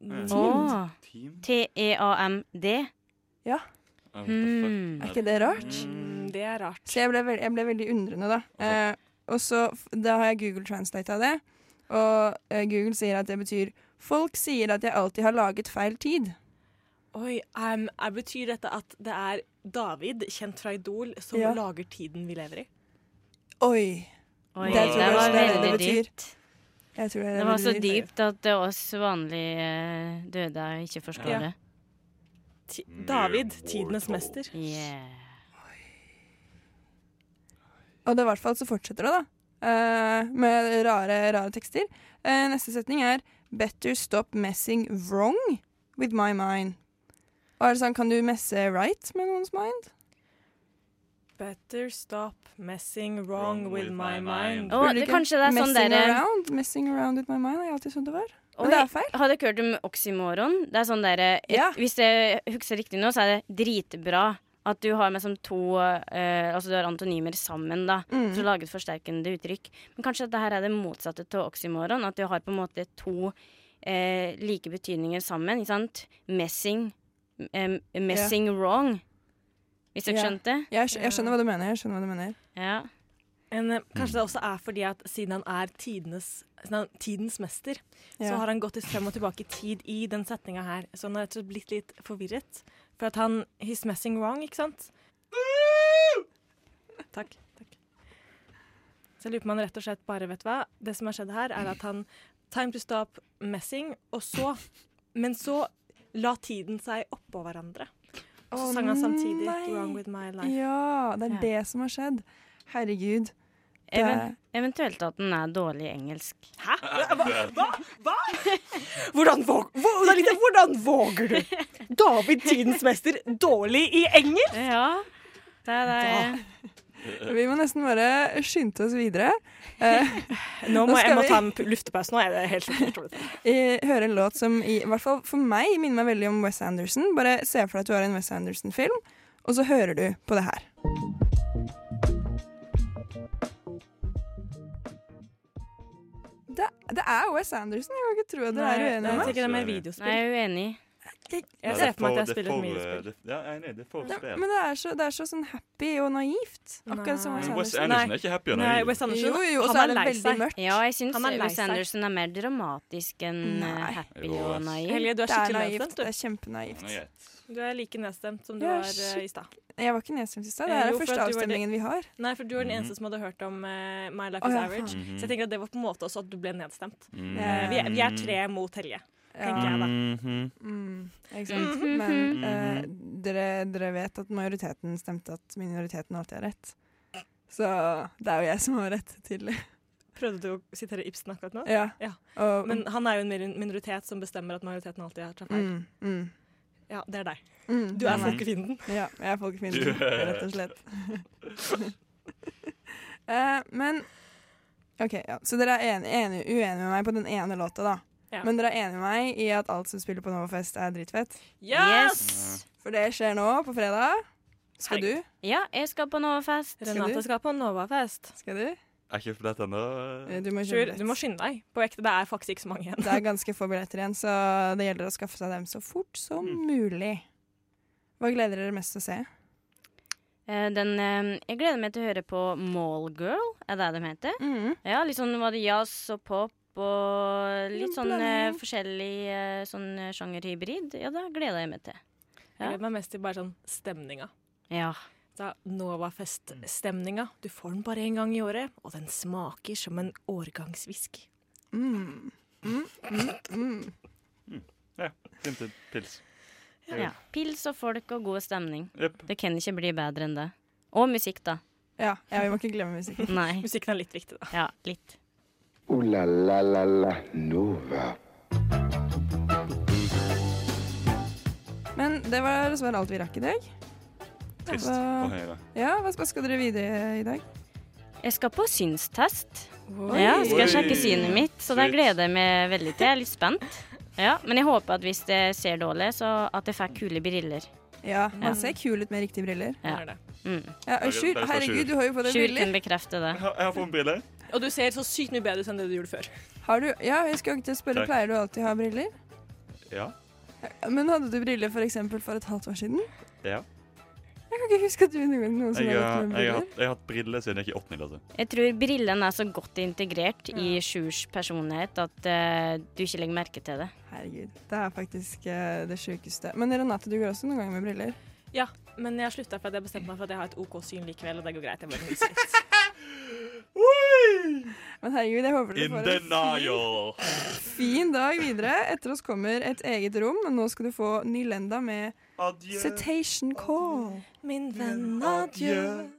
Speaker 5: Mm.
Speaker 6: Åh. E T-e-a-m-d.
Speaker 3: Ja,
Speaker 4: Ah, what the
Speaker 6: Hmm.
Speaker 3: er
Speaker 4: fuck?
Speaker 3: ikke det rart?
Speaker 5: Mm, Det er rart.
Speaker 3: Så jeg ble, veld, jeg ble veldig undrende, da. Eh, og så f- da har jeg Google Translate av det, og eh, Google sier at det betyr Folk sier at jeg alltid har laget feil tid.
Speaker 5: Oi, em, er- Betyr dette at det er David, kjent fra Idol, som
Speaker 3: Ja.
Speaker 5: lager tiden vi lever i?
Speaker 3: Oi.
Speaker 6: Oi,
Speaker 3: Det
Speaker 6: det,
Speaker 3: tror
Speaker 4: jeg
Speaker 6: var
Speaker 4: det er det
Speaker 6: veldig
Speaker 3: det betyr.
Speaker 6: dypt.
Speaker 3: Jeg tror det, er
Speaker 6: Det var
Speaker 3: veldig
Speaker 6: så
Speaker 3: dypt.
Speaker 6: dypt at eh, oss vanlige eh, døde ikke forstår
Speaker 5: Ja.
Speaker 6: det.
Speaker 5: Ti David, tidenes mester.
Speaker 6: Yeah.
Speaker 3: Og det i hvert fall så fortsetter det, da. eh, med rare, rare tekster. Eh, neste setning er Better stop messing wrong with my mind. Og er det sånn, Kan du messe right med noens mind?
Speaker 5: Better stop messing wrong, with my mind.
Speaker 6: Og det, kanskje det er sånn
Speaker 3: messing
Speaker 6: dere
Speaker 3: around, Messing around with my mind har jeg alltid trodd det var.
Speaker 6: Oi,
Speaker 3: Men det er feil.
Speaker 6: Har dere hørt om oksymoron? Det er sånn der, et,
Speaker 3: Ja.
Speaker 6: Hvis jeg husker riktig nå, så er det dritbra at du har med som to eh, Altså du har antonymer sammen, da.
Speaker 3: Mm.
Speaker 6: For å lage et forsterkende uttrykk. Men kanskje dette her er det motsatte av oksymoron. At du har på en måte to eh, like betydninger sammen. Ikke sant? Messing. eh, messing wrong. Hvis dere
Speaker 3: Ja.
Speaker 6: skjønte?
Speaker 3: Jeg, skj jeg skjønner hva du mener. jeg skjønner hva du mener.
Speaker 6: Ja.
Speaker 5: En, eh, kanskje det også er fordi at siden han er tidenes, siden han, tidens mester,
Speaker 3: Ja.
Speaker 5: så har han gått litt frem og tilbake i tid i den setninga her. Så han har rett og slett blitt litt forvirret. For at han He's messing wrong, ikke sant? Takk. takk. Så jeg lurer på om han rett og slett bare vet hva. Det som har skjedd her, er at han Time to stop messing, og så Men så la tiden seg oppå hverandre. Og så
Speaker 3: Å,
Speaker 5: sang han samtidig
Speaker 3: nei.
Speaker 5: Wrong with my life.
Speaker 3: Ja, det er
Speaker 6: Ja.
Speaker 3: det som har skjedd. Herregud. Det,
Speaker 6: Even, eventuelt at den er dårlig i engelsk.
Speaker 5: Hvordan, våg, hvordan, hvordan våger du? David, tidens mester, dårlig i engel?
Speaker 6: Ja. Det er det.
Speaker 3: Vi må nesten bare skynde oss videre. Eh,
Speaker 5: Nå må
Speaker 3: skal
Speaker 5: jeg må
Speaker 3: vi-
Speaker 5: ta en p- luftepause. Nå er det helt slutt.
Speaker 3: eh, høre en låt som i, i hvert fall for meg minner meg veldig om Wes Anderson. Bare se for deg at du har en Wes Anderson-film, og så hører du på det her. Det, det er Wes Anderson. Jeg kan ikke tro at dere er uenige
Speaker 5: jeg
Speaker 3: med meg.
Speaker 5: tenker det er mer
Speaker 6: Nei, jeg
Speaker 5: videospill.
Speaker 6: er uenig.
Speaker 5: Jeg
Speaker 4: Nei,
Speaker 5: ser
Speaker 4: det
Speaker 5: for
Speaker 4: får-
Speaker 5: meg at jeg
Speaker 4: det
Speaker 5: spiller
Speaker 4: får,
Speaker 5: mye
Speaker 4: eh,
Speaker 5: videospill.
Speaker 4: det- Ja, jeg er enig. Det får
Speaker 3: Ja,
Speaker 4: spill.
Speaker 3: men det er, så, det er så sånn happy og naivt. Akkurat som
Speaker 5: Nei.
Speaker 3: Wes
Speaker 4: Men Wes
Speaker 3: Anderson.
Speaker 4: Anderson
Speaker 5: Nei.
Speaker 4: er ikke happy og
Speaker 5: Nei,
Speaker 4: naiv.
Speaker 5: Wes Anderson,
Speaker 3: Jo, jo, og så
Speaker 5: han
Speaker 3: er
Speaker 5: er
Speaker 3: det
Speaker 5: lei
Speaker 3: veldig
Speaker 5: seg.
Speaker 3: mørkt.
Speaker 6: Ja, jeg syns
Speaker 5: Han er lei
Speaker 6: Wes
Speaker 5: seg.
Speaker 6: Anderson er mer dramatisk enn eh,
Speaker 3: Nei.
Speaker 6: happy
Speaker 4: Jo,
Speaker 6: og
Speaker 4: ass.
Speaker 6: naiv.
Speaker 5: Helge, du er
Speaker 3: Det er
Speaker 5: skikkelig nedstemt,
Speaker 3: naivt. Det
Speaker 5: du.
Speaker 3: er kjempenaivt.
Speaker 4: Ja, greit.
Speaker 5: Du er like nedstemt som du
Speaker 3: Jeg er
Speaker 5: var eh, i stad.
Speaker 3: Jeg var ikke nedstemt i stad.
Speaker 5: Eh,
Speaker 3: Det er den
Speaker 5: jo, for
Speaker 3: første
Speaker 5: at du var det-
Speaker 3: avstemningen vi har.
Speaker 5: Nei, for du var den
Speaker 4: Mhm.
Speaker 5: eneste som hadde hørt om eh, My Life
Speaker 3: Å,
Speaker 5: Is
Speaker 3: ja,
Speaker 5: Average.
Speaker 4: faen.
Speaker 5: Så jeg tenker at det var på en måte også at du ble nedstemt.
Speaker 3: Eh,
Speaker 5: Vi er, vi er
Speaker 4: Mm.
Speaker 5: tre mot Helge.
Speaker 3: Ja.
Speaker 5: jeg, da.
Speaker 4: Mhm.
Speaker 3: Mm, ikke sant?
Speaker 5: Mhm.
Speaker 3: Men eh, dere, dere vet at majoriteten stemte at minoriteten alltid har rett. Så det er jo jeg som har rett
Speaker 5: [LAUGHS]
Speaker 3: til
Speaker 5: Prøvde du å sitere Ibsen akkurat nå?
Speaker 3: Ja.
Speaker 5: Ja.
Speaker 3: Og,
Speaker 5: Men han er jo en min- minoritet som bestemmer at majoriteten alltid har tatt feil.
Speaker 3: mm, mm,
Speaker 5: Ja, det er deg.
Speaker 3: mm,
Speaker 5: Du er
Speaker 3: nei.
Speaker 5: folkefienden.
Speaker 3: Ja, jeg er folkefiende,
Speaker 4: Du-
Speaker 3: rett og slett. [LAUGHS] Eh, men OK, ja. Så dere er enige, enige, uenige med meg på den ene låta, da.
Speaker 5: Ja.
Speaker 3: Men dere er enige med meg i at alt som spiller på Novafest, er dritfett?
Speaker 5: Yes!
Speaker 3: For det skjer nå på fredag. Skal du?
Speaker 6: Ja, jeg skal på Novafest.
Speaker 3: Skal du?
Speaker 5: Renate skal på Novafest.
Speaker 3: Skal du?
Speaker 4: Er ikke billett
Speaker 3: Eh,
Speaker 4: ennå.
Speaker 3: Du må kjøpe
Speaker 5: Sjur,
Speaker 3: billett.
Speaker 5: du må skynde deg. På ekte, det er faktisk ikke så mange igjen.
Speaker 3: Det er ganske få billetter igjen, så det gjelder å skaffe seg dem så fort som mulig. Hva gleder dere mest til å se?
Speaker 6: Eh, Den, eh, jeg gleder meg til å høre på Mallgirl, er det det de heter?
Speaker 3: Mm.
Speaker 6: Ja, litt sånn var det jazz og pop og litt
Speaker 3: En
Speaker 6: sånn eh,
Speaker 3: blanding.
Speaker 6: forskjellig eh, sånn eh, sjangerhybrid. Ja, det gleder jeg meg til.
Speaker 5: Jeg gleder meg mest til bare sånn stemninga.
Speaker 6: Ja.
Speaker 5: Da Novafest-stemninga. Du får den bare én gang i året, og den smaker som en årgangswhisky.
Speaker 3: Mm.
Speaker 4: Ja. Tintin pils.
Speaker 6: ja. Pils og folk og god stemning.
Speaker 4: Jepp.
Speaker 6: Det kan ikke bli bedre enn det. Og musikk, da.
Speaker 3: Ja, ja, vi må ikke glemme musikken.
Speaker 6: Nei.
Speaker 5: Musikken er litt viktig, da.
Speaker 6: Ja, litt.
Speaker 2: Ooh la la la la Nova.
Speaker 3: Men det var dessverre alt vi rakk i dag.
Speaker 4: Trist
Speaker 3: Hva-
Speaker 4: å høre.
Speaker 3: Ja, hva hva skal dere videre i dag?
Speaker 6: Jeg skal på synstest.
Speaker 5: Oi.
Speaker 6: Ja, skal jeg
Speaker 4: Oi.
Speaker 6: sjekke synet mitt, så det
Speaker 4: Shit.
Speaker 6: gleder jeg meg veldig til. Jeg er litt spent. Ja, Men jeg håper at hvis jeg ser dårlig, så at jeg får kule briller.
Speaker 3: Ja,
Speaker 6: Ja.
Speaker 3: man ser kul ut med riktige briller.
Speaker 5: Det
Speaker 6: Ja.
Speaker 5: er det.
Speaker 6: Mm.
Speaker 3: Ja, og
Speaker 4: Bare-
Speaker 3: Sjur,
Speaker 4: bare ta
Speaker 3: herregud,
Speaker 4: Sjur.
Speaker 3: du har jo fått deg
Speaker 6: Sjur
Speaker 3: briller.
Speaker 6: kan bekrefte det.
Speaker 4: Jeg har, jeg har fått briller.
Speaker 5: Og du ser så sykt mye bedre ut enn det du gjorde før.
Speaker 3: Har du? Ja, jeg skal ikke spørre,
Speaker 4: Takk.
Speaker 3: pleier du alltid å ha briller?
Speaker 4: Ja.
Speaker 3: Ja, Men hadde du briller for eksempel for et halvt år siden?
Speaker 4: Ja.
Speaker 3: Jeg kan ikke huske at du noen noen som
Speaker 4: Jeg,
Speaker 3: har
Speaker 4: har-
Speaker 3: gått med
Speaker 4: jeg, har,
Speaker 3: briller.
Speaker 4: hatt- jeg har hatt briller siden jeg gikk i åttende klasse.
Speaker 6: Jeg tror brillene er så godt integrert
Speaker 3: Mm.
Speaker 6: i Sjurs personlighet at eh, du ikke legger merke til det.
Speaker 3: Herregud, det er faktisk eh, det sjukeste. Men Renate, du går også noen ganger med briller.
Speaker 5: Ja, men jeg slutta for at jeg bestemte meg for at jeg har et OK syn likevel, og det går greit. Jeg [LAUGHS] bare myser litt.
Speaker 3: Men herregud, jeg håper
Speaker 4: In
Speaker 3: dere får en [LAUGHS]
Speaker 4: denial!
Speaker 3: fin dag videre. Etter oss kommer et eget rom. Nå skal du få Nylenda med
Speaker 4: Adjø.
Speaker 3: Cetation Call.
Speaker 5: Min venn, adjø.